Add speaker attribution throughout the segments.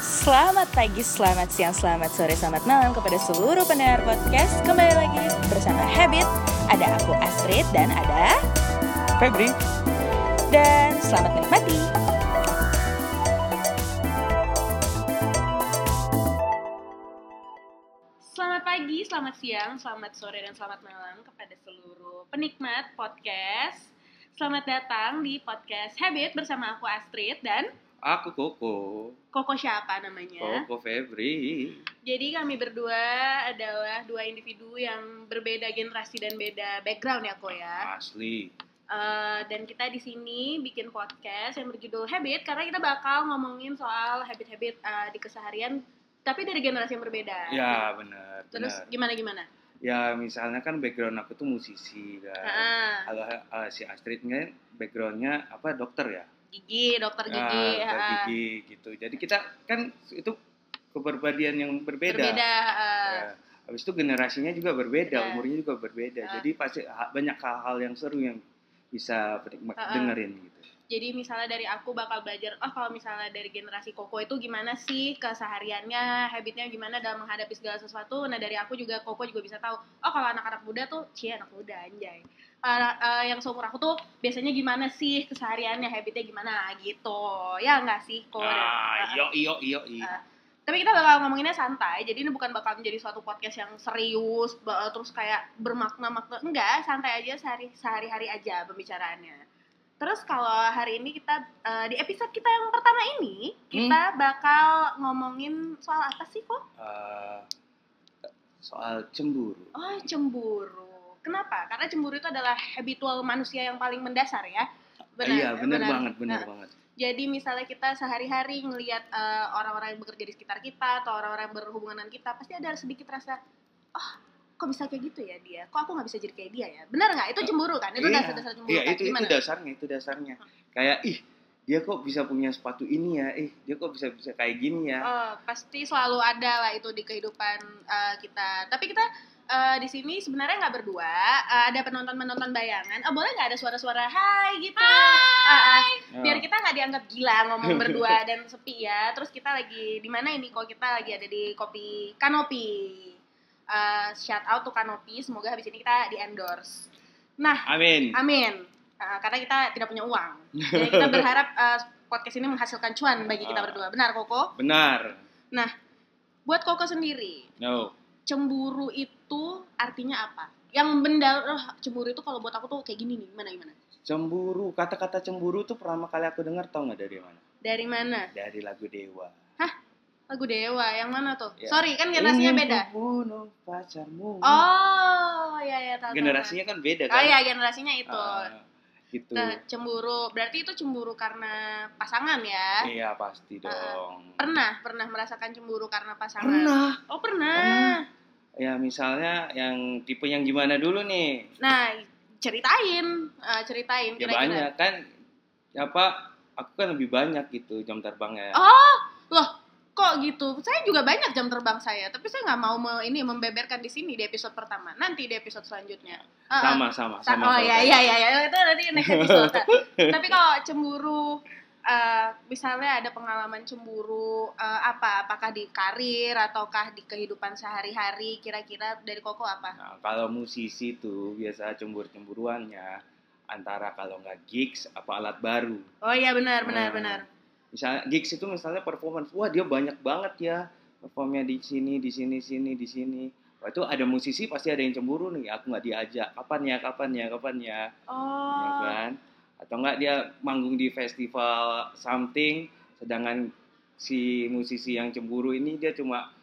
Speaker 1: Selamat pagi, selamat siang, selamat sore, selamat malam kepada seluruh pendengar podcast Kembali lagi bersama Habit Ada aku Astrid dan ada
Speaker 2: Febri.
Speaker 1: Dan selamat menikmati
Speaker 3: Selamat pagi, selamat siang, selamat sore, dan selamat malam kepada seluruh penikmat podcast. Selamat datang di podcast Habit bersama aku Astrid dan
Speaker 2: Aku Koko.
Speaker 3: Koko siapa namanya.
Speaker 2: Koko Febri.
Speaker 3: Jadi kami berdua adalah dua individu yang berbeda generasi dan beda background ya Ko ya.
Speaker 2: Asli.
Speaker 3: Eh, dan kita di sini bikin podcast yang berjudul Habit karena kita bakal ngomongin soal habit-habit eh, di keseharian tapi dari generasi yang berbeda.
Speaker 2: Ya benar.
Speaker 3: Terus
Speaker 2: benar.
Speaker 3: gimana gimana?
Speaker 2: Ya misalnya kan background aku tuh musisi kan.
Speaker 3: Ah.
Speaker 2: Kalau eh, si Astrid kan backgroundnya apa dokter ya?
Speaker 3: gigi dokter
Speaker 2: Ah,
Speaker 3: gigi
Speaker 2: dokter
Speaker 3: ah,
Speaker 2: gigi gitu. Jadi kita kan itu keberbadian yang berbeda.
Speaker 3: berbeda Iya. ah.
Speaker 2: Ya. Habis itu generasinya juga berbeda,
Speaker 3: Beda.
Speaker 2: umurnya juga berbeda.
Speaker 3: Ah.
Speaker 2: Jadi pasti ha- banyak hal-hal yang seru yang bisa penikmat
Speaker 3: Ah, ah.
Speaker 2: dengerin gitu.
Speaker 3: jadi misalnya dari aku bakal belajar oh kalau misalnya dari generasi koko itu gimana sih kesehariannya habitnya gimana dalam menghadapi segala sesuatu nah dari aku juga koko juga bisa tahu oh kalau anak-anak muda tuh cie anak muda anjay Eh, eh, yang seumur aku tuh biasanya gimana sih kesehariannya habitnya gimana gitu ya nggak sih koko
Speaker 2: Ah, yo yo yo. yo.
Speaker 3: Ah. tapi kita bakal ngomonginnya santai jadi ini bukan bakal menjadi suatu podcast yang serius ba- terus kayak bermakna makna enggak santai aja sehari sehari hari aja pembicaraannya terus kalau hari ini kita eh, di episode kita yang pertama ini kita
Speaker 2: Hmm.
Speaker 3: bakal ngomongin soal apa sih kok
Speaker 2: eh, soal cemburu.
Speaker 3: oh cemburu kenapa karena cemburu itu adalah habitual manusia yang paling mendasar ya
Speaker 2: iya, benar banget, benar
Speaker 3: Nah,
Speaker 2: banget.
Speaker 3: Jadi misalnya kita sehari-hari ngelihat eh, orang-orang yang bekerja di sekitar kita atau orang-orang yang berhubungan dengan kita, pasti ada sedikit rasa, oh kok bisa kayak gitu ya dia? Kok aku nggak bisa jadi kayak dia ya? Benar nggak? Itu cemburu kan? Itu
Speaker 2: Iya,
Speaker 3: dasar-dasar cemburu
Speaker 2: Iya,
Speaker 3: kan?
Speaker 2: itu, itu
Speaker 3: Gimana? Ah.
Speaker 2: dasarnya, itu dasarnya. Kayak ih, dia kok bisa punya sepatu ini ya? Eh, dia kok bisa bisa kayak gini ya?
Speaker 3: Oh, pasti selalu ada lah itu di kehidupan eh, kita. Tapi kita eh, di sini sebenarnya nggak berdua, Eh, ada penonton-penonton bayangan. Oh, boleh nggak ada suara-suara hai gitu? Ah, ah.
Speaker 2: Oh,
Speaker 3: biar kita nggak dianggap gila ngomong berdua dan sepi ya terus kita lagi di mana ini kok kita lagi ada di kopi kanopi Eh, shout out to kanopi semoga habis ini kita di endorse nah
Speaker 2: Amin.
Speaker 3: amin Eh, karena kita tidak punya uang jadi kita berharap eh, podcast ini menghasilkan cuan bagi kita berdua benar koko
Speaker 2: Benar.
Speaker 3: buat koko sendiri
Speaker 2: No.
Speaker 3: cemburu itu artinya apa yang benda oh, cemburu itu kalau buat aku tuh kayak gini nih gimana gimana
Speaker 2: Cemburu, kata-kata cemburu tuh pertama kali aku dengar tau nggak dari mana?
Speaker 3: dari mana
Speaker 2: Dari lagu Dewa.
Speaker 3: lagu dewa yang mana tuh
Speaker 2: Ya.
Speaker 3: sorry kan generasinya
Speaker 2: Ingin
Speaker 3: beda
Speaker 2: ku bunuh pacarmu.
Speaker 3: Oh, ya ya tahu. tahu,
Speaker 2: Generasinya kan beda
Speaker 3: tahu.
Speaker 2: kan?
Speaker 3: Oh ya generasinya itu.
Speaker 2: Ah, gitu.
Speaker 3: Nah, cemburu. Berarti itu cemburu karena pasangan ya?
Speaker 2: Iya, pasti
Speaker 3: Ah, ah.
Speaker 2: dong.
Speaker 3: Pernah, pernah merasakan cemburu karena pasangan?
Speaker 2: Pernah.
Speaker 3: Oh, pernah.
Speaker 2: Pernah. Ya misalnya yang tipe yang gimana dulu nih?
Speaker 3: Nah, ceritain, eh, ceritain
Speaker 2: Ya
Speaker 3: kira-kira.
Speaker 2: banyak kan apa aku kan lebih banyak gitu jam terbangnya.
Speaker 3: Oh, loh, kok gitu? Saya juga banyak jam terbang saya, tapi saya nggak mau me- ini membeberkan di sini di episode pertama. Nanti di episode selanjutnya. Ah, ah.
Speaker 2: sama sama
Speaker 3: Ta-
Speaker 2: sama.
Speaker 3: oh
Speaker 2: kalau
Speaker 3: ya
Speaker 2: saya.
Speaker 3: ya ya ya itu nanti next episode. Tapi kalau cemburu eh, misalnya ada pengalaman cemburu eh, apa? Apakah di karir ataukah di kehidupan sehari-hari kira-kira dari Koko apa?
Speaker 2: Nah, kalau musisi tuh biasa cembur-cemburuannya antara kalau nggak gigs apa alat baru.
Speaker 3: Oh iya benar benar
Speaker 2: Hmm.
Speaker 3: benar.
Speaker 2: Misalnya gigs itu misalnya performance, wah dia banyak banget ya performnya di sini, di sini, sini, di sini. Wah itu ada musisi pasti ada yang cemburu nih, aku nggak diajak. Kapan ya, kapan ya, kapan ya. ya
Speaker 3: Oh.
Speaker 2: kan? Atau enggak dia manggung di festival something, sedangkan si musisi yang cemburu ini dia cuma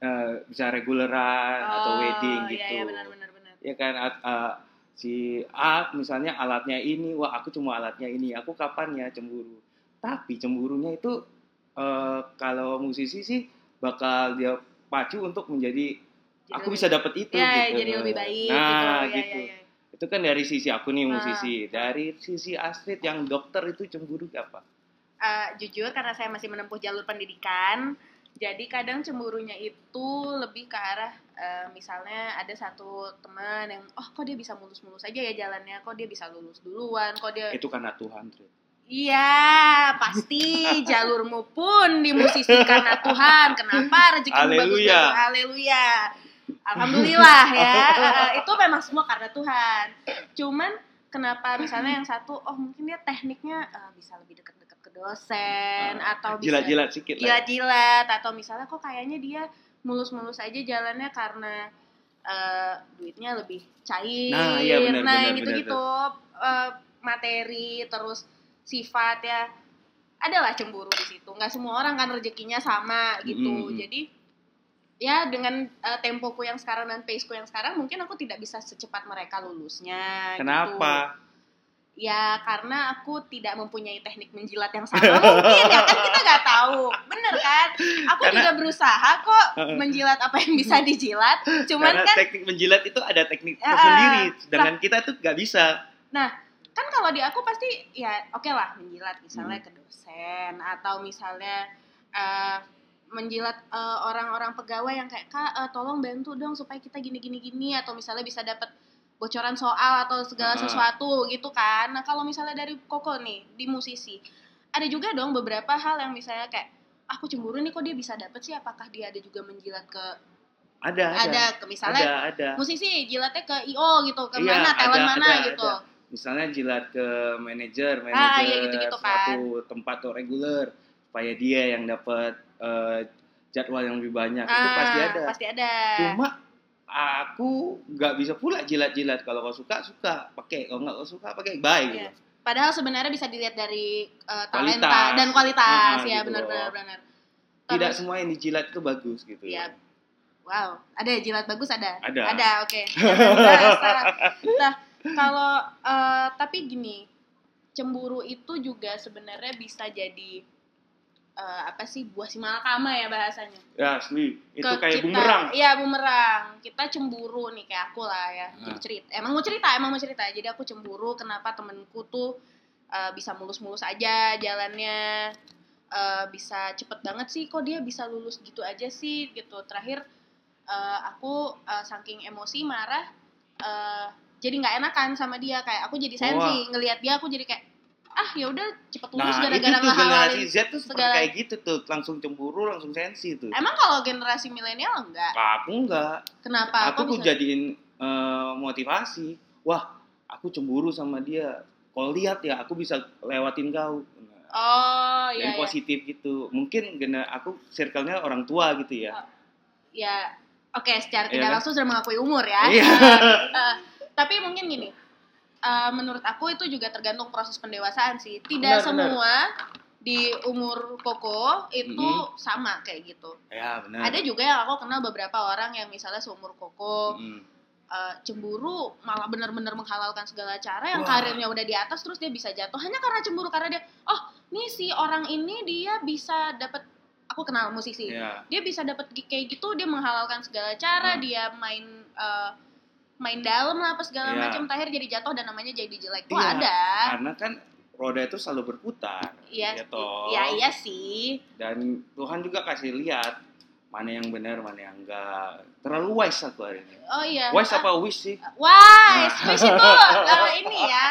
Speaker 2: eh, bisa reguleran atau
Speaker 3: Oh,
Speaker 2: wedding
Speaker 3: iya,
Speaker 2: gitu.
Speaker 3: Iya benar benar benar.
Speaker 2: Ya kan At- eh, si A misalnya alatnya ini, wah aku cuma alatnya ini, aku kapan ya cemburu. Tapi cemburunya itu eh, kalau musisi sih bakal dia pacu untuk menjadi
Speaker 3: Jadi
Speaker 2: aku
Speaker 3: lebih-
Speaker 2: bisa dapat itu
Speaker 3: ya,
Speaker 2: gitu.
Speaker 3: jadi lebih baik
Speaker 2: Nah,
Speaker 3: gitu. Ya,
Speaker 2: gitu
Speaker 3: ya, ya.
Speaker 2: itu kan dari sisi aku nih
Speaker 3: Ah.
Speaker 2: musisi dari sisi Astrid yang dokter itu cemburu gak apa
Speaker 3: Eh, jujur karena saya masih menempuh jalur pendidikan jadi kadang cemburunya itu lebih ke arah eh, misalnya ada satu teman yang oh kok dia bisa mulus-mulus aja ya jalannya kok dia bisa lulus duluan kok dia
Speaker 2: itu karena Tuhan Astrid
Speaker 3: Iya, pasti jalurmu pun dimusisikan nah Tuhan. Kenapa rezekimu bagus-bagus?
Speaker 2: Haleluya.
Speaker 3: Haleluya. Alhamdulillah ya. Eh, itu memang semua karena Tuhan. Cuman kenapa misalnya yang satu oh mungkin dia tekniknya eh, bisa lebih dekat-dekat ke dosen atau bisa
Speaker 2: Ah, jilat-jilat sikit lah. ya.
Speaker 3: jilat-jilat Iya, atau misalnya kok kayaknya dia mulus-mulus aja jalannya karena eh, duitnya lebih cair.
Speaker 2: Nah, iya, benar,
Speaker 3: Nah,
Speaker 2: benar,
Speaker 3: yang gitu-gitu Eh, materi terus sifat ya adalah cemburu di situ. Nggak semua orang kan rezekinya sama gitu.
Speaker 2: Mm, mm, mm.
Speaker 3: Jadi ya dengan eh, tempoku yang sekarang dan paceku yang sekarang mungkin aku tidak bisa secepat mereka lulusnya. gitu.
Speaker 2: Kenapa?
Speaker 3: Ya karena aku tidak mempunyai teknik menjilat yang sama mungkin ya kan kita nggak tahu, bener kan? Aku
Speaker 2: Karena-
Speaker 3: juga berusaha kok menjilat apa yang bisa dijilat, cuman
Speaker 2: Karena
Speaker 3: kan,
Speaker 2: teknik menjilat itu ada teknik
Speaker 3: Ya,
Speaker 2: tersendiri, sedangkan kita tuh nggak bisa.
Speaker 3: kan kalau di aku pasti ya oke lah menjilat misalnya
Speaker 2: Hmm.
Speaker 3: ke dosen atau misalnya eh, menjilat eh, orang-orang pegawai yang kayak kak eh, tolong bantu dong supaya kita gini gini gini atau misalnya bisa dapat bocoran soal atau segala
Speaker 2: Ah.
Speaker 3: sesuatu gitu kan. Nah kalau misalnya dari Koko nih di musisi ada juga dong beberapa hal yang misalnya kayak aku cemburu nih kok dia bisa dapet sih apakah dia ada juga menjilat ke
Speaker 2: Ada, ada,
Speaker 3: ada ya? ke misalnya
Speaker 2: ada, ada.
Speaker 3: musisi jilatnya ke io gitu ke
Speaker 2: Iya,
Speaker 3: mana talent
Speaker 2: ada,
Speaker 3: mana
Speaker 2: ada,
Speaker 3: gitu
Speaker 2: ada. Misalnya jilat ke manajer, manajer
Speaker 3: Ah, iya, gitu-gitu kan.
Speaker 2: suatu tempat atau reguler supaya dia yang dapat eh, jadwal yang lebih banyak itu
Speaker 3: Ah,
Speaker 2: pasti ada.
Speaker 3: pasti ada. Iya.
Speaker 2: Cuma aku nggak bisa pula jilat-jilat kalau kau suka suka pakai, kalau nggak kau suka pakai bye. gitu.
Speaker 3: Iya. Padahal sebenarnya bisa dilihat dari eh, talenta
Speaker 2: Kualitas.
Speaker 3: dan kualitas
Speaker 2: Ah,
Speaker 3: ya
Speaker 2: gitu
Speaker 3: benar-benar
Speaker 2: loh.
Speaker 3: benar.
Speaker 2: Tidak
Speaker 3: Terus-
Speaker 2: semua yang dijilat itu bagus gitu.
Speaker 3: Iya. Wow, ada ya jilat bagus ada.
Speaker 2: Ada.
Speaker 3: Ada, oke. Nah, salah. nah, kalau eh, tapi gini, cemburu itu juga sebenarnya bisa jadi eh, apa sih buah si malakama ya bahasanya.
Speaker 2: Ya asli, itu
Speaker 3: Ke
Speaker 2: kayak
Speaker 3: kita.
Speaker 2: bumerang.
Speaker 3: Iya, bumerang. Kita cemburu nih kayak aku lah ya. Jadi cerita. Emang mau cerita, emang mau cerita. Jadi aku cemburu kenapa temenku tuh eh, bisa mulus-mulus aja jalannya. Eh, bisa cepet banget sih kok dia bisa lulus gitu aja sih gitu. Terakhir eh, aku eh, saking emosi marah eh, jadi nggak enakan sama dia kayak aku jadi sensi ngelihat dia aku jadi kayak ah ya udah cepet lulus
Speaker 2: Nah, itu
Speaker 3: gara-gara
Speaker 2: tuh generasi
Speaker 3: ngehalalin
Speaker 2: Z tuh seperti
Speaker 3: segala-
Speaker 2: kayak gitu tuh, langsung cemburu, langsung sensi tuh.
Speaker 3: emang kalau generasi milenial enggak
Speaker 2: Aku enggak.
Speaker 3: kenapa Kok
Speaker 2: aku tuh
Speaker 3: bisa?
Speaker 2: jadiin eh, motivasi wah aku cemburu sama dia kalau lihat ya aku bisa lewatin kau Nah,
Speaker 3: Oh iya. iya.
Speaker 2: yang positif gitu mungkin gena aku circle-nya orang tua gitu
Speaker 3: Oh.
Speaker 2: ya
Speaker 3: Ya, oke secara
Speaker 2: Iya
Speaker 3: tidak
Speaker 2: kan?
Speaker 3: langsung sudah mengakui umur ya.
Speaker 2: Iya.
Speaker 3: Eh, tapi mungkin gini, eh, menurut aku itu juga tergantung proses pendewasaan sih. Tidak
Speaker 2: Benar, benar.
Speaker 3: semua di umur koko itu
Speaker 2: Mhm.
Speaker 3: sama kayak gitu.
Speaker 2: ya benar
Speaker 3: Ada juga yang aku kenal beberapa orang yang misalnya seumur koko
Speaker 2: Mm.
Speaker 3: eh, cemburu malah benar-benar menghalalkan segala cara yang
Speaker 2: Wah.
Speaker 3: karirnya udah di atas terus dia bisa jatuh hanya karena cemburu karena dia oh nih si orang ini dia bisa dapat aku kenal musisi
Speaker 2: ya
Speaker 3: dia bisa dapat gi- kayak gitu dia menghalalkan segala cara
Speaker 2: Hmm.
Speaker 3: dia main eh, main dalam lah apa segala
Speaker 2: Iya.
Speaker 3: macam terakhir jadi jatuh dan namanya jadi jelek tuh
Speaker 2: Iya.
Speaker 3: ada
Speaker 2: karena kan roda itu selalu berputar
Speaker 3: iya
Speaker 2: ya toh.
Speaker 3: iya iya sih
Speaker 2: dan Tuhan juga kasih lihat mana yang benar mana yang enggak terlalu wise aku hari ini
Speaker 3: oh iya
Speaker 2: wise
Speaker 3: Ah,
Speaker 2: apa Ah. wish sih
Speaker 3: wise wish itu eh, ini ya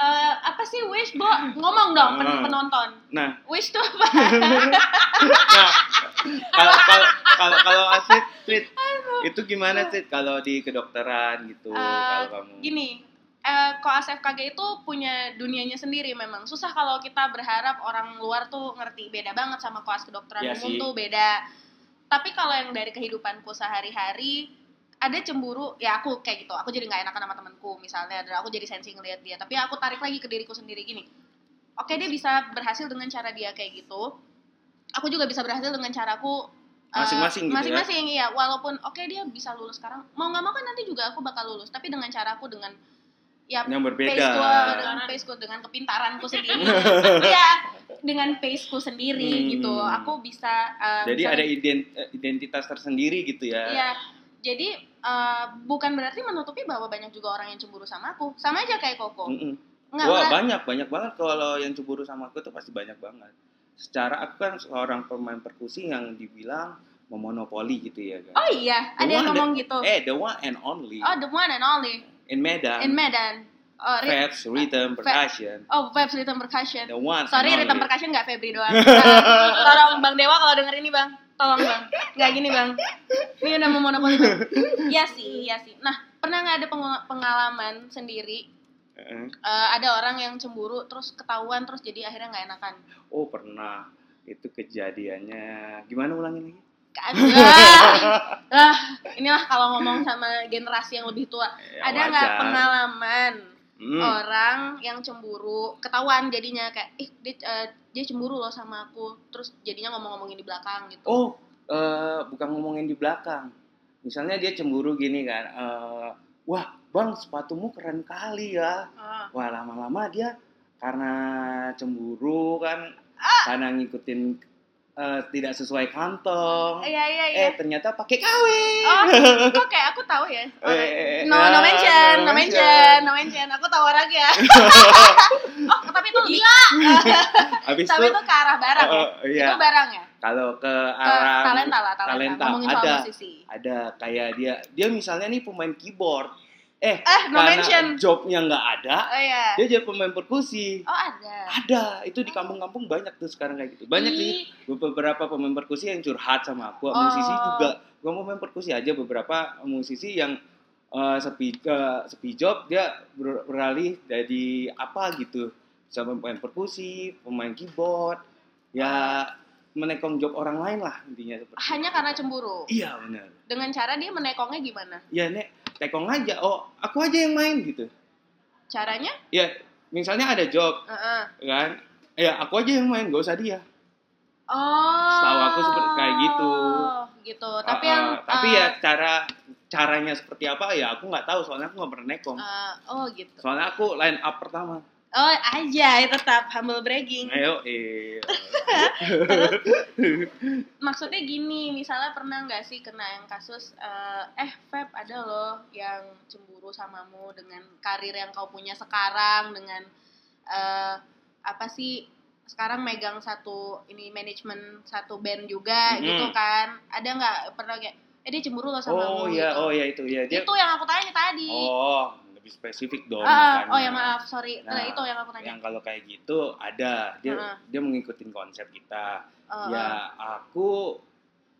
Speaker 3: Eh, apa sih wish bo ngomong dong pen-
Speaker 2: Hmm.
Speaker 3: penonton
Speaker 2: Nah.
Speaker 3: wish tuh apa
Speaker 2: Nah, kalau kalau kalau kalau Astrid, Astrid, itu gimana sih kalau di kedokteran gitu
Speaker 3: Eh,
Speaker 2: kalau kamu
Speaker 3: gini eh koas FKG itu punya dunianya sendiri memang susah kalau kita berharap orang luar tuh ngerti beda banget sama koas kedokteran
Speaker 2: Iya
Speaker 3: umum
Speaker 2: sih.
Speaker 3: tuh beda tapi kalau yang dari kehidupanku sehari-hari ada cemburu ya aku kayak gitu aku jadi nggak enakan sama temanku misalnya dan aku jadi sensi ngeliat dia tapi aku tarik lagi ke diriku sendiri gini oke dia bisa berhasil dengan cara dia kayak gitu aku juga bisa berhasil dengan caraku eh,
Speaker 2: Masing-masing gitu ya?
Speaker 3: masing-masing iya walaupun oke dia bisa lulus sekarang mau nggak mau kan nanti juga aku bakal lulus tapi dengan caraku dengan ya
Speaker 2: yang
Speaker 3: pace
Speaker 2: berbeda
Speaker 3: gue dengan pace gue dengan kepintaranku sendiri ya dengan pace ku sendiri
Speaker 2: Hmm.
Speaker 3: gitu aku bisa eh,
Speaker 2: jadi
Speaker 3: misalnya-
Speaker 2: ada ident- eh, identitas tersendiri gitu ya
Speaker 3: Iya. Jadi eh, bukan berarti menutupi bahwa banyak juga orang yang cemburu sama aku. Sama aja kayak Koko.
Speaker 2: Mm-mm.
Speaker 3: Nggak
Speaker 2: Hmm. wah
Speaker 3: merasa-
Speaker 2: banyak banyak banget kalau yang cemburu sama aku tuh pasti banyak banget secara aku kan seorang pemain perkusi yang dibilang memonopoli gitu ya kan
Speaker 3: Oh iya, ada
Speaker 2: The
Speaker 3: yang
Speaker 2: one
Speaker 3: ngomong gitu.
Speaker 2: eh the one and only
Speaker 3: Oh, the one and only
Speaker 2: in Medan
Speaker 3: in Medan. Oh, ri-
Speaker 2: Fats, Rhythm, Percussion.
Speaker 3: oh Vibes Rhythm Percussion.
Speaker 2: The one. ya. and
Speaker 3: Sorry,
Speaker 2: only.
Speaker 3: Rhythm Percussion nggak Febri doang. Nah, tolong Bang Dewa kalau denger ini Bang. Tolong Bang. Nggak gini Bang. Ini udah mau monopoli Bang. Iya sih, iya sih. Nah, pernah nggak ada pengu- pengalaman sendiri
Speaker 2: Heeh.
Speaker 3: eh, ada orang yang cemburu terus ketahuan terus jadi akhirnya nggak enakan?
Speaker 2: Oh pernah. Itu kejadiannya. Gimana ulangin lagi?
Speaker 3: Kagak. lah, inilah kalau ngomong sama generasi yang lebih tua.
Speaker 2: Ya,
Speaker 3: ada nggak
Speaker 2: wajar.
Speaker 3: pengalaman Oh.
Speaker 2: Hmm.
Speaker 3: orang yang cemburu ketahuan jadinya kayak ih dia, eh, dia cemburu loh sama aku terus jadinya ngomong-ngomongin di belakang gitu
Speaker 2: Oh, eh, bukan ngomongin di belakang. Misalnya dia cemburu gini kan, eh, wah bang sepatumu keren kali ya.
Speaker 3: Ah.
Speaker 2: Wah lama-lama dia karena cemburu kan,
Speaker 3: Ah!
Speaker 2: karena ngikutin eh, tidak sesuai kantong.
Speaker 3: iya iya iya
Speaker 2: Eh ternyata pakai kawin.
Speaker 3: oh kok kayak aku tahu ya
Speaker 2: Eh, eh, eh,
Speaker 3: no no
Speaker 2: ah,
Speaker 3: mention no
Speaker 2: no
Speaker 3: mention no mention aku tahu orangnya ya oh tapi itu lebih
Speaker 2: Habis
Speaker 3: tapi
Speaker 2: itu,
Speaker 3: itu ke arah barang ya
Speaker 2: eh, eh, iya.
Speaker 3: itu barang ya
Speaker 2: kalau ke
Speaker 3: ke
Speaker 2: arah
Speaker 3: talenta lah talenta,
Speaker 2: talenta.
Speaker 3: ngomongin
Speaker 2: Ada.
Speaker 3: soal musisi
Speaker 2: ada kayak dia, dia misalnya nih pemain keyboard. Eh,
Speaker 3: eh no
Speaker 2: karena
Speaker 3: mention
Speaker 2: jobnya nggak ada,
Speaker 3: oh iya
Speaker 2: dia jadi pemain perkusi.
Speaker 3: oh ada
Speaker 2: Ada, itu di kampung-kampung banyak tuh sekarang kayak gitu. Banyak sih
Speaker 3: Ih,
Speaker 2: beberapa pemain perkusi yang curhat sama aku, musisi
Speaker 3: Oh.
Speaker 2: juga. Gua mau main perkusi aja beberapa musisi yang eh, sepi eh, sepi job dia ber- beralih jadi apa gitu. Bisa pemain perkusi, pemain keyboard, ya menekong job orang lain lah intinya seperti. itu.
Speaker 3: hanya karena cemburu
Speaker 2: Iya benar.
Speaker 3: dengan cara dia menekongnya gimana
Speaker 2: Ya nek tekong aja. Oh, aku aja yang main gitu.
Speaker 3: caranya
Speaker 2: Ya, misalnya ada job
Speaker 3: Heeh.
Speaker 2: kan. Ya, aku aja yang main, gak usah dia.
Speaker 3: oh
Speaker 2: Setahu aku seperti kayak gitu.
Speaker 3: gitu tapi
Speaker 2: Uh,
Speaker 3: yang
Speaker 2: uh, tapi
Speaker 3: eh,
Speaker 2: ya cara caranya seperti apa ya aku nggak tahu soalnya aku nggak pernah nekom
Speaker 3: eh, oh gitu
Speaker 2: soalnya aku line up pertama
Speaker 3: oh aja tetap humble bragging
Speaker 2: ayo eh
Speaker 3: maksudnya gini misalnya pernah nggak sih kena yang kasus eh, eh Feb ada loh yang cemburu samamu dengan karir yang kau punya sekarang dengan eh, apa sih sekarang megang satu ini manajemen satu band juga
Speaker 2: Mhm.
Speaker 3: gitu kan ada nggak pernah kayak eh dia cemburu loh
Speaker 2: oh
Speaker 3: samamu
Speaker 2: ya
Speaker 3: gitu.
Speaker 2: oh ya itu ya dia
Speaker 3: itu yang aku tanya tadi
Speaker 2: oh lebih spesifik dong
Speaker 3: Ah,
Speaker 2: makanya.
Speaker 3: oh ya maaf sorry
Speaker 2: Nah,
Speaker 3: nah, itu yang aku tanya
Speaker 2: yang kalau kayak gitu ada dia
Speaker 3: Heeh.
Speaker 2: dia mengikuti konsep kita
Speaker 3: Oh, oh.
Speaker 2: ya aku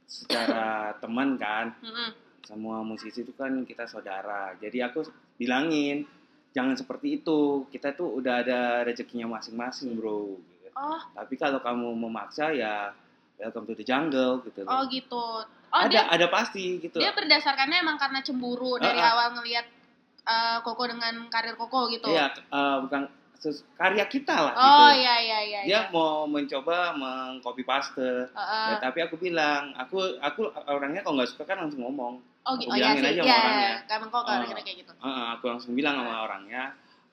Speaker 2: secara teman kan
Speaker 3: oh. Mm-mm.
Speaker 2: semua musisi itu kan kita saudara. Jadi aku bilangin jangan seperti itu. Kita tuh udah ada rezekinya masing-masing, bro. gitu.
Speaker 3: oh
Speaker 2: Tapi kalau kamu memaksa ya welcome to the jungle gitu
Speaker 3: oh
Speaker 2: loh.
Speaker 3: gitu oh
Speaker 2: ada
Speaker 3: dia
Speaker 2: ada pasti gitu.
Speaker 3: dia berdasarkannya emang karena cemburu dari
Speaker 2: Ah, ah.
Speaker 3: awal ngelihat eh, Koko dengan karir Koko gitu.
Speaker 2: Iya, eh, bukan ses- karya kita lah
Speaker 3: oh
Speaker 2: gitu.
Speaker 3: iya iya iya.
Speaker 2: Dia
Speaker 3: iya.
Speaker 2: mau mencoba mengcopy paste.
Speaker 3: Eh, eh.
Speaker 2: Ya, tapi aku bilang, aku aku orangnya kalau nggak suka kan langsung ngomong.
Speaker 3: oh gitu. Oh
Speaker 2: aku
Speaker 3: iya
Speaker 2: bilangin
Speaker 3: sih.
Speaker 2: aja
Speaker 3: Iya.
Speaker 2: sama orangnya.
Speaker 3: Emang Koko
Speaker 2: Ah.
Speaker 3: orangnya kayak gitu.
Speaker 2: Heeh, aku langsung bilang
Speaker 3: Iya.
Speaker 2: sama orangnya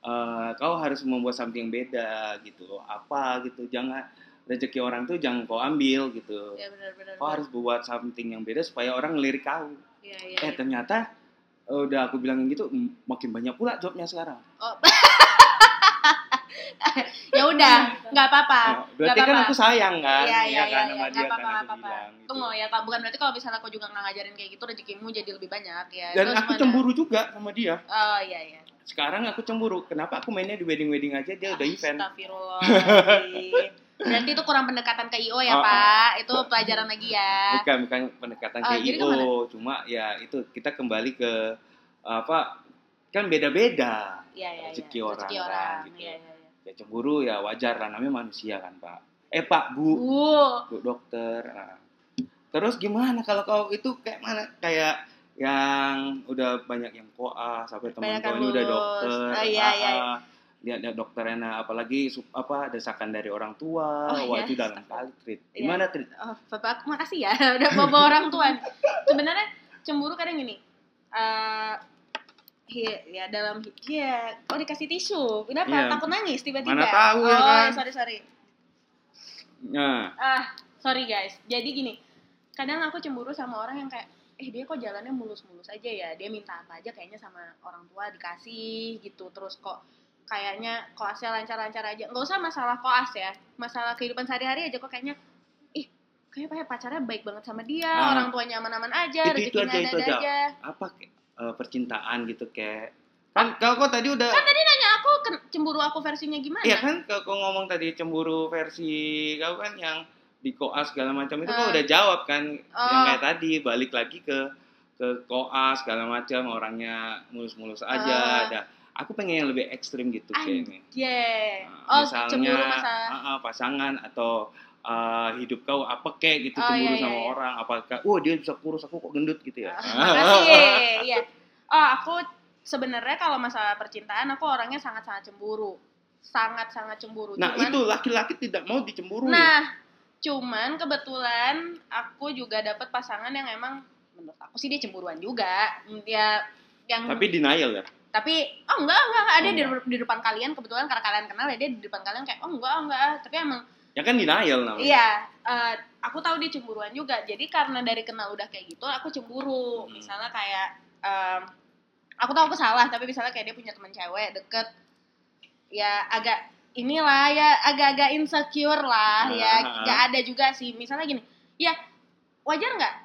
Speaker 2: "Eh, kau harus membuat something beda gitu apa gitu jangan rezeki orang tuh jangan kau ambil gitu
Speaker 3: Iya benar benar.
Speaker 2: kau harus buat something yang beda supaya orang ngelirik kau
Speaker 3: Iya iya.
Speaker 2: eh
Speaker 3: iya.
Speaker 2: ternyata eh, udah aku bilangin gitu mm, makin banyak pula jobnya sekarang
Speaker 3: Ya udah, nggak apa-apa.
Speaker 2: Nah, berarti
Speaker 3: Ah, nggak
Speaker 2: kan
Speaker 3: apa-apa.
Speaker 2: aku sayang kan
Speaker 3: Iya iya
Speaker 2: kan
Speaker 3: iya.
Speaker 2: sama
Speaker 3: iya.
Speaker 2: dia
Speaker 3: Nggak apa-apa nggak
Speaker 2: kan aku
Speaker 3: apa-apa.
Speaker 2: bilang gitu.
Speaker 3: Tunggu ya kak. Bukan berarti kalau misalnya aku juga nggak ngajarin kayak gitu rezekimu jadi lebih banyak ya.
Speaker 2: dan
Speaker 3: Itu
Speaker 2: aku
Speaker 3: semuanya.
Speaker 2: cemburu juga sama dia
Speaker 3: Oh iya iya.
Speaker 2: sekarang aku cemburu kenapa aku mainnya di wedding wedding aja dia
Speaker 3: Ah,
Speaker 2: udah event
Speaker 3: Astagfirullahaladzim. Berarti itu kurang pendekatan ke IO ya
Speaker 2: Ah, ah.
Speaker 3: Pak. Itu pelajaran lagi ya.
Speaker 2: bukan bukan pendekatan
Speaker 3: Ah, jadi
Speaker 2: KIO cuma ya itu kita kembali ke apa kan beda-beda
Speaker 3: Iya iya. iya.
Speaker 2: Rezeki orang
Speaker 3: Rezeki
Speaker 2: kan,
Speaker 3: orang.
Speaker 2: gitu.
Speaker 3: Iya iya. iya.
Speaker 2: ya cemburu ya wajar lah namanya manusia kan pak eh pak bu
Speaker 3: Uh,
Speaker 2: bu dokter nah. terus gimana kalau kau itu kayak mana kayak yang udah banyak yang koas sampai
Speaker 3: Banyak
Speaker 2: teman
Speaker 3: yang
Speaker 2: kau ini udah
Speaker 3: lulus.
Speaker 2: dokter
Speaker 3: Ah, iya, iya.
Speaker 2: ah, ah. lihat lihat dokternya apalagi sup- apa desakan dari orang tua
Speaker 3: Oh,
Speaker 2: wah
Speaker 3: iya.
Speaker 2: itu dalam kali treat
Speaker 3: Iya.
Speaker 2: gimana treat
Speaker 3: oh, Bapak, makasih ya udah bawa orang tuan. Sebenarnya cemburu kadang gini. Eh hi- ya dalam ya oh dikasih tisu kenapa
Speaker 2: Iya.
Speaker 3: takut nangis tiba-tiba
Speaker 2: Mana tahu ya
Speaker 3: oh,
Speaker 2: kan.
Speaker 3: sorry sorry
Speaker 2: nah
Speaker 3: ah sorry guys jadi gini kadang aku cemburu sama orang yang kayak eh dia kok jalannya mulus-mulus aja ya dia minta apa aja kayaknya sama orang tua dikasih gitu terus kok kayaknya koasnya lancar-lancar aja nggak usah masalah koas ya masalah kehidupan sehari-hari aja kok kayaknya ih kayaknya ya pacarnya baik banget sama dia
Speaker 2: Ah.
Speaker 3: orang tuanya aman-aman aja
Speaker 2: Itu- itu
Speaker 3: rezekinya
Speaker 2: aja, itu
Speaker 3: ada-ada
Speaker 2: aja.
Speaker 3: aja
Speaker 2: apa kayak, eh, percintaan gitu kayak Kan kalau kok tadi udah
Speaker 3: Tanya aku ken- cemburu aku versinya gimana?
Speaker 2: Iya kan kalau kau ngomong tadi cemburu versi kau kan yang di koas segala macam itu
Speaker 3: Ah.
Speaker 2: kau udah jawab kan yang
Speaker 3: Oh.
Speaker 2: kayak tadi balik lagi ke ke koas segala macam orangnya mulus-mulus
Speaker 3: Ah.
Speaker 2: aja ada aku pengen yang lebih ekstrim gitu
Speaker 3: Anjing.
Speaker 2: kayaknya
Speaker 3: Yeah.
Speaker 2: Nah,
Speaker 3: oh, cemburu masa
Speaker 2: ah, ah, pasangan atau ah, hidup kau apa kek gitu
Speaker 3: Oh,
Speaker 2: cemburu
Speaker 3: iya, iya,
Speaker 2: sama
Speaker 3: iya.
Speaker 2: orang apakah oh dia bisa kurus aku kok gendut gitu ya
Speaker 3: Makasih. Iya. Oh, aku sebenarnya kalau masalah percintaan aku orangnya sangat-sangat cemburu. Sangat-sangat cemburu.
Speaker 2: nah
Speaker 3: Cuman-
Speaker 2: itu laki-laki tidak mau dicemburu
Speaker 3: Nah, cuman kebetulan aku juga dapet pasangan yang emang menurut aku sih dia cemburuan juga. Mm, Ya yang
Speaker 2: tapi denial ya
Speaker 3: tapi, oh enggak enggak, enggak. ada di,
Speaker 2: Enggak.
Speaker 3: di depan kalian kebetulan karena kalian kenal ya dia di depan kalian kayak oh enggak enggak ah." tapi emang
Speaker 2: ya kan denial namanya
Speaker 3: Iya, eh, aku tahu dia cemburuan juga. Jadi karena dari kenal udah kayak gitu, aku cemburu.
Speaker 2: Hmm.
Speaker 3: Misalnya kayak, em, aku tahu aku salah, tapi misalnya kayak dia punya teman cewek deket, ya agak inilah ya agak-agak insecure lah
Speaker 2: Ah.
Speaker 3: ya. Gak ada juga sih. Misalnya gini, ya wajar nggak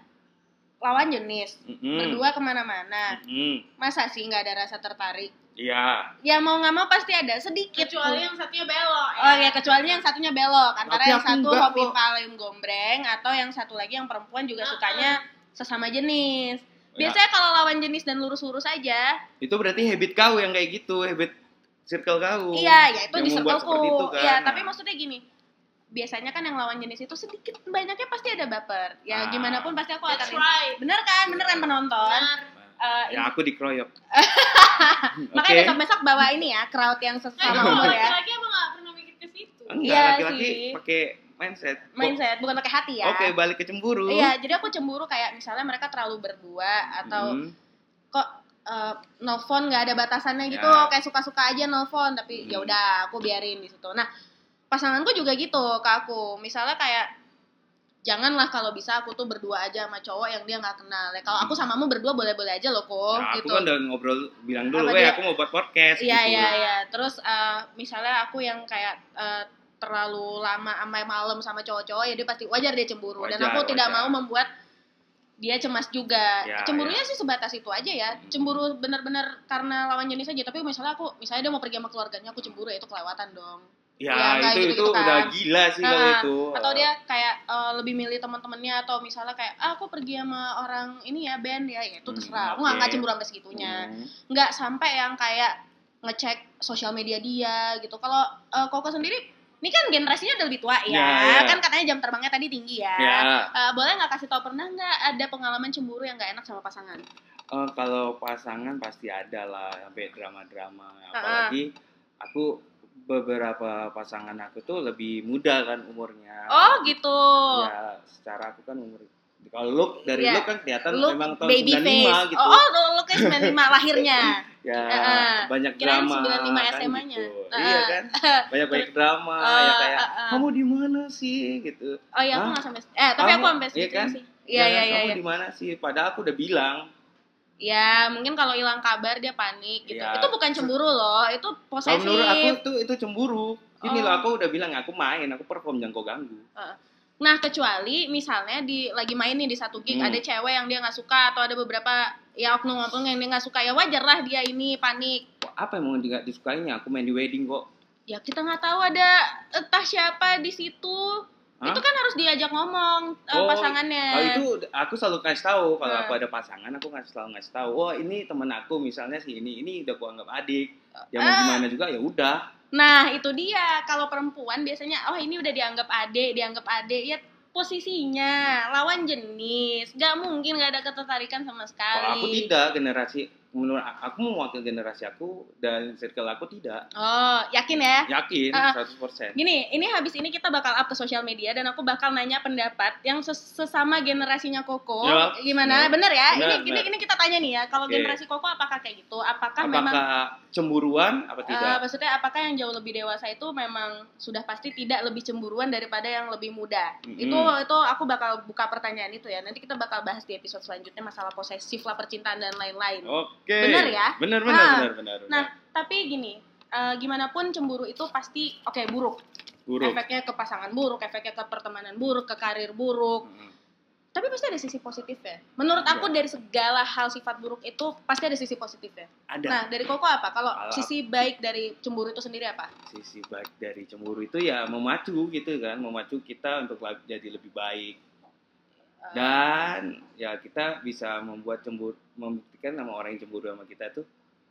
Speaker 3: lawan jenis
Speaker 2: Mm-mm.
Speaker 3: berdua kemana-mana,
Speaker 2: Mm-mm.
Speaker 3: masa sih nggak ada rasa tertarik?
Speaker 2: Iya.
Speaker 3: Ya mau nggak mau pasti ada sedikit.
Speaker 4: kecuali yang satunya belok ya.
Speaker 3: Gitu. Oh ya kecuali yang satunya belok antara
Speaker 2: Tapi
Speaker 3: yang
Speaker 2: aku
Speaker 3: satu
Speaker 2: enggak
Speaker 3: hobi
Speaker 2: kok.
Speaker 3: paling gombreng atau yang satu lagi yang perempuan juga
Speaker 4: Ah,
Speaker 3: sukanya sesama jenis.
Speaker 2: Ya,
Speaker 3: Biasanya kalau lawan jenis dan lurus-lurus aja,
Speaker 2: itu berarti habit kau yang kayak gitu, habit circle kau.
Speaker 3: iya ya itu
Speaker 2: Oh, Yang
Speaker 3: di
Speaker 2: membuat
Speaker 3: circleku.
Speaker 2: seperti itu kan.
Speaker 3: Iya,
Speaker 2: Nah.
Speaker 3: tapi maksudnya gini. Biasanya kan yang lawan jenis itu sedikit banyaknya pasti ada baper. Ya
Speaker 2: Ah.
Speaker 3: gimana pun pasti aku
Speaker 4: That's
Speaker 3: akan
Speaker 4: right. Nah.
Speaker 3: Bener kan? Bener kan penonton?
Speaker 4: Benar.
Speaker 3: Eh,
Speaker 2: Ya aku dikeroyok. Oke.
Speaker 3: Makanya besok-besok bawa ini ya, crowd yang
Speaker 4: Nah,
Speaker 3: sesama
Speaker 4: kalau
Speaker 3: umur ya.
Speaker 4: laki-laki emang gak pernah mikir ke situ.
Speaker 2: Enggak,
Speaker 3: Iya
Speaker 2: laki-laki
Speaker 3: sih.
Speaker 2: pakai mindset.
Speaker 3: Mindset, bukan pakai hati
Speaker 2: Oh,
Speaker 3: ya.
Speaker 2: Oke, balik ke cemburu.
Speaker 3: Iya, jadi aku cemburu kayak misalnya mereka terlalu berdua atau
Speaker 2: Mm.
Speaker 3: kok eh, nelfon nggak ada batasannya gitu
Speaker 2: Ya.
Speaker 3: kayak suka-suka aja nelfon tapi
Speaker 2: Hmm.
Speaker 3: ya udah aku biarin di situ nah pasanganku juga gitu ke aku misalnya kayak janganlah kalau bisa aku tuh berdua aja sama cowok yang dia nggak kenal ya kalau aku samamu berdua boleh-boleh aja loh kok
Speaker 2: Nah, Hmm. aku
Speaker 3: gitu
Speaker 2: kan udah ngobrol bilang
Speaker 3: Apa
Speaker 2: dulu, "Weh,
Speaker 3: dia-
Speaker 2: aku mau buat podcast."
Speaker 3: Iya
Speaker 2: gitu.
Speaker 3: iya iya. Terus eh, misalnya aku yang kayak eh, terlalu lama sampai malam sama cowok-cowok ya dia pasti wajar dia cemburu dan
Speaker 2: Wajar,
Speaker 3: aku tidak
Speaker 2: wajar.
Speaker 3: mau membuat dia cemas juga.
Speaker 2: Ya,
Speaker 3: Cemburunya sih sebatas itu aja ya.
Speaker 2: Hmm.
Speaker 3: Cemburu bener-bener karena lawan jenis aja. Tapi misalnya aku misalnya dia mau pergi sama keluarganya aku cemburu ya itu kelewatan dong.
Speaker 2: Ya,
Speaker 3: Iya, kayak
Speaker 2: itu
Speaker 3: gitu-gitu
Speaker 2: itu
Speaker 3: kan.
Speaker 2: udah gila sih kalau
Speaker 3: Nah,
Speaker 2: itu.
Speaker 3: Atau dia kayak eh, lebih milih teman-temannya atau misalnya kayak ah, aku pergi sama orang ini ya band ya, ya itu
Speaker 2: Hmm,
Speaker 3: terserah. Aku nggak
Speaker 2: oke.
Speaker 3: nggak cemburu sampai segitunya
Speaker 2: Mm.
Speaker 3: nggak sampai yang kayak ngecek sosial media dia gitu. Kalau eh, Koko sendiri, ini kan generasinya udah lebih tua ya,
Speaker 2: Ya, ya.
Speaker 3: kan katanya jam terbangnya tadi tinggi ya.
Speaker 2: Ya,
Speaker 3: Eh, boleh nggak kasih tau pernah nggak ada pengalaman cemburu yang nggak enak sama pasangan?
Speaker 2: eh, kalau pasangan pasti ada lah sampai drama-drama.
Speaker 3: Ah, ah.
Speaker 2: Apalagi aku beberapa pasangan aku tuh lebih muda kan umurnya.
Speaker 3: Oh gitu.
Speaker 2: Ya, secara aku kan umur kalau look dari
Speaker 3: Iya.
Speaker 2: look kan kelihatan
Speaker 3: Look,
Speaker 2: memang tahun
Speaker 3: baby
Speaker 2: 95
Speaker 3: face.
Speaker 2: gitu.
Speaker 3: Oh, oh lo, lo kayak 95 lahirnya.
Speaker 2: Ya,
Speaker 3: Heeh.
Speaker 2: banyak
Speaker 3: Kirain
Speaker 2: drama
Speaker 3: 95
Speaker 2: kan
Speaker 3: SMA-nya.
Speaker 2: gitu.
Speaker 3: Heeh.
Speaker 2: Iya kan? Banyak-banyak drama
Speaker 3: Eh,
Speaker 2: ya kayak
Speaker 3: eh, eh.
Speaker 2: kamu di mana sih gitu.
Speaker 3: Oh iya aku
Speaker 2: Hah?
Speaker 3: nggak sampai. Eh tapi aku
Speaker 2: Kamu-
Speaker 3: sampai
Speaker 2: iya
Speaker 3: segitu
Speaker 2: kan?
Speaker 3: sih. Iya
Speaker 2: Ya
Speaker 3: iya
Speaker 2: kan,
Speaker 3: iya.
Speaker 2: Kamu
Speaker 3: iya.
Speaker 2: di mana sih? Padahal aku udah bilang.
Speaker 3: Ya mungkin kalau hilang kabar dia panik gitu.
Speaker 2: Iya.
Speaker 3: Itu bukan cemburu loh, itu
Speaker 2: Kalau
Speaker 3: posesif.
Speaker 2: menurut aku tuh itu cemburu. Ini
Speaker 3: Oh.
Speaker 2: loh aku udah bilang aku main, aku perform jangan kau ganggu.
Speaker 3: Nah, kecuali misalnya di lagi main nih di satu gig
Speaker 2: Hmm.
Speaker 3: ada cewek yang dia nggak suka atau ada beberapa ya oknum-oknum yang dia nggak suka ya wajar lah dia ini panik.
Speaker 2: Wah, Apa yang mau nggak disukainya? Aku main di wedding kok.
Speaker 3: Ya kita nggak tahu ada eh, entah siapa di situ.
Speaker 2: Hah?
Speaker 3: Itu kan harus diajak ngomong eh,
Speaker 2: Oh,
Speaker 3: pasangannya.
Speaker 2: Kalau itu aku selalu kasih tahu kalau
Speaker 3: Nah.
Speaker 2: aku ada pasangan aku nggak selalu ngasih tahu. Oh ini teman aku misalnya si ini ini udah aku anggap adik. Ya mau
Speaker 3: Ah.
Speaker 2: gimana juga ya udah.
Speaker 3: Nah, itu dia. Kalau perempuan biasanya oh ini udah dianggap adik, dianggap adik. Ya posisinya lawan jenis. Gak mungkin gak ada ketertarikan sama sekali.
Speaker 2: Kalau aku tidak generasi menurut aku mewakili generasi aku dan circle aku tidak
Speaker 3: Oh, yakin ya?
Speaker 2: yakin
Speaker 3: Ah.
Speaker 2: 100%.
Speaker 3: Gini, ini habis ini kita bakal up ke sosial media dan aku bakal nanya pendapat yang ses- sesama generasinya Koko.
Speaker 2: Ya,
Speaker 3: Gimana?
Speaker 2: ya.
Speaker 3: Bener ya?
Speaker 2: Bener,
Speaker 3: ini, ini ini
Speaker 2: bener.
Speaker 3: kita tanya nih ya, kalau
Speaker 2: Oke.
Speaker 3: generasi Koko apakah kayak gitu? Apakah, memang
Speaker 2: Apakah cemburuan apa
Speaker 3: eh,
Speaker 2: tidak?
Speaker 3: maksudnya apakah yang jauh lebih dewasa itu memang sudah pasti tidak lebih cemburuan daripada yang lebih muda?
Speaker 2: Mm-mm.
Speaker 3: Itu itu aku bakal buka pertanyaan itu ya. Nanti kita bakal bahas di episode selanjutnya masalah posesif lah percintaan dan lain-lain.
Speaker 2: Oke.
Speaker 3: Benar ya?
Speaker 2: Benar benar
Speaker 3: Ah.
Speaker 2: benar benar.
Speaker 3: Nah, tapi gini, eh, gimana pun cemburu itu pasti oke buruk.
Speaker 2: buruk.
Speaker 3: efeknya ke pasangan buruk, efeknya ke pertemanan buruk, ke karir buruk.
Speaker 2: Mm.
Speaker 3: Tapi pasti ada sisi positifnya. Menurut aku
Speaker 2: Iya.
Speaker 3: dari segala hal sifat buruk itu pasti ada sisi positifnya.
Speaker 2: ada
Speaker 3: Nah, dari Koko apa? Kalau
Speaker 2: Kalau
Speaker 3: sisi baik dari cemburu itu sendiri apa?
Speaker 2: sisi baik dari cemburu itu ya memacu gitu kan memacu kita untuk la- jadi lebih baik
Speaker 3: Eh,
Speaker 2: dan ya kita bisa membuat cemburu membuktikan sama orang yang cemburu sama kita tuh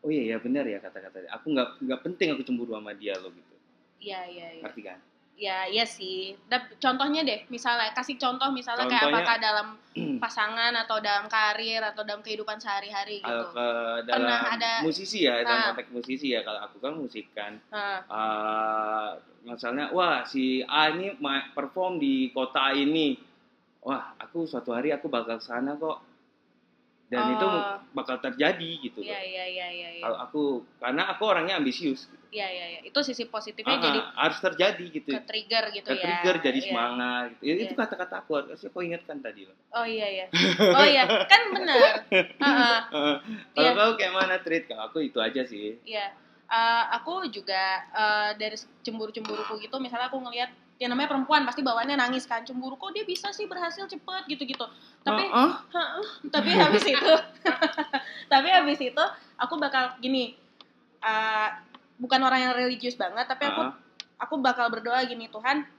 Speaker 2: oh iya ya benar ya kata-kata aku nggak nggak penting aku cemburu sama dia loh gitu
Speaker 3: Iya, iya, iya.
Speaker 2: ngerti kan
Speaker 3: Ya, iya sih. Dap- contohnya deh, misalnya kasih contoh misalnya kayak
Speaker 2: Contohnya-
Speaker 3: apakah dalam pasangan atau dalam karir atau dalam kehidupan sehari-hari gitu.
Speaker 2: Kalau ke dalam
Speaker 3: Pernah ada-
Speaker 2: musisi ya
Speaker 3: Ah.
Speaker 2: dalam konteks musisi ya kalau aku kan musik kan
Speaker 3: Nah,
Speaker 2: Ah, misalnya wah si A ini ma- perform di kota ini wah aku suatu hari aku bakal kesana kok dan itu
Speaker 3: Oh.
Speaker 2: bakal terjadi gitu
Speaker 3: Iya,
Speaker 2: loh.
Speaker 3: iya, iya, iya, iya.
Speaker 2: kalau aku karena aku orangnya ambisius gitu.
Speaker 3: Iya, iya, iya. Itu sisi positifnya
Speaker 2: Ah,
Speaker 3: jadi
Speaker 2: ah, harus terjadi gitu
Speaker 3: ke trigger gitu ya.
Speaker 2: trigger jadi
Speaker 3: Iya.
Speaker 2: semangat gitu. Ya, itu
Speaker 3: Iya.
Speaker 2: kata-kata aku harusnya kau ingatkan tadi loh
Speaker 3: Oh iya iya. Oh iya, kan benar. Heeh,
Speaker 2: Ah, kalau
Speaker 3: Iya.
Speaker 2: kau kayak mana treat kalau aku itu aja sih
Speaker 3: iya. Eh, aku juga eh, dari cemburu-cemburuku gitu, misalnya aku ngelihat yang namanya perempuan pasti bawaannya nangis kan cemburu kok dia bisa sih berhasil cepet gitu-gitu tapi
Speaker 2: Ah,
Speaker 3: tapi habis itu tapi habis itu aku bakal gini eh, bukan orang yang religius banget tapi aku
Speaker 2: ah,
Speaker 3: aku bakal berdoa gini Tuhan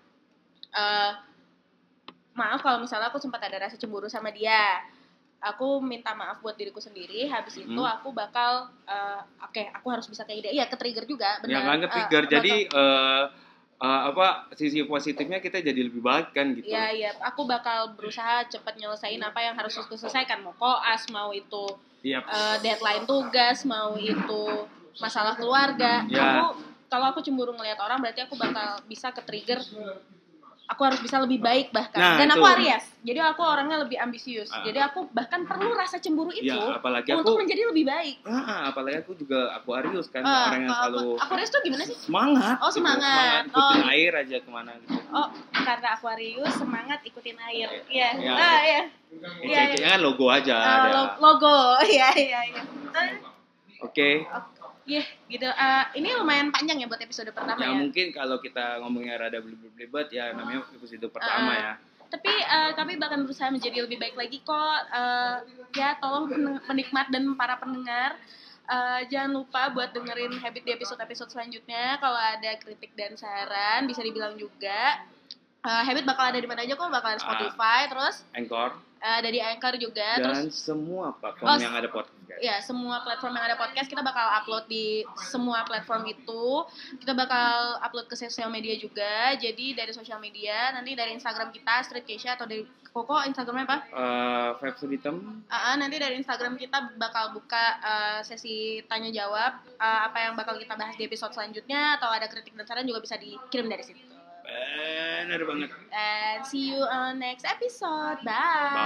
Speaker 3: eh maaf kalau misalnya aku sempat ada rasa cemburu sama dia aku minta maaf buat diriku sendiri habis itu
Speaker 2: Mm.
Speaker 3: aku bakal eh, oke aku harus bisa kayak dia iya ke trigger juga benar
Speaker 2: Ya kan
Speaker 3: Eh,
Speaker 2: trigger.
Speaker 3: bakal-
Speaker 2: jadi eh, eh, apa sisi positifnya kita jadi lebih baik kan gitu.
Speaker 3: Iya, iya. Aku bakal berusaha cepat nyelesain apa yang harus aku selesaikan. Mau koas, mau itu
Speaker 2: Iya.
Speaker 3: eh, deadline tugas, mau itu masalah keluarga.
Speaker 2: Ya.
Speaker 3: Aku kalau aku cemburu ngelihat orang berarti aku bakal bisa ke trigger. Aku harus bisa lebih baik bahkan.
Speaker 2: Nah,
Speaker 3: Dan aku
Speaker 2: itu.
Speaker 3: Aries. Jadi aku orangnya lebih ambisius.
Speaker 2: Ah.
Speaker 3: Jadi aku bahkan perlu rasa cemburu itu
Speaker 2: Ya, apalagi
Speaker 3: untuk
Speaker 2: aku
Speaker 3: menjadi lebih baik.
Speaker 2: ah, apalagi aku juga Aquarius kan
Speaker 3: Eh,
Speaker 2: orang yang
Speaker 3: kalau
Speaker 2: selalu
Speaker 3: aku, aku Aries tuh gimana sih?
Speaker 2: semangat.
Speaker 3: Oh,
Speaker 2: gitu,
Speaker 3: semangat.
Speaker 2: ikutin
Speaker 3: Oh.
Speaker 2: air aja kemana gitu.
Speaker 3: Oh, karena Aquarius semangat ikutin air. Iya.
Speaker 2: Ya.
Speaker 3: Nah, iya. Iya,
Speaker 2: Ece-ece kan logo aja
Speaker 3: Ah,
Speaker 2: ada.
Speaker 3: lo- logo. Iya, iya, iya. Ah.
Speaker 2: Oke.
Speaker 3: Iya, gitu. Eh, ini lumayan panjang ya buat episode pertama
Speaker 2: Ya
Speaker 3: ya.
Speaker 2: mungkin kalau kita ngomongnya rada belibet ya namanya episode
Speaker 3: Ah.
Speaker 2: pertama ya.
Speaker 3: Tapi eh, kami bahkan berusaha menjadi lebih baik lagi kok. Eh, ya tolong pen- penikmat dan para pendengar eh, jangan lupa buat dengerin habit di episode-episode selanjutnya. Kalau ada kritik dan saran bisa dibilang juga. Eh, habit bakal ada di mana aja kok? Bakal ada Spotify, terus
Speaker 2: Anchor
Speaker 3: eh, ada di Anchor juga, terus
Speaker 2: dan semua platform
Speaker 3: Oh,
Speaker 2: yang ada podcast.
Speaker 3: ya semua platform yang ada podcast kita bakal upload di semua platform itu kita bakal upload ke sosial media juga jadi dari sosial media nanti dari Instagram kita Street Keisha atau dari Koko Instagramnya apa?
Speaker 2: Eh, Vibes Rhythm.
Speaker 3: Aa, Ah, nanti dari Instagram kita bakal buka eh, sesi tanya jawab eh, apa yang bakal kita bahas di episode selanjutnya atau ada kritik dan saran juga bisa dikirim dari situ
Speaker 2: Bener banget.
Speaker 3: and see you on next episode bye.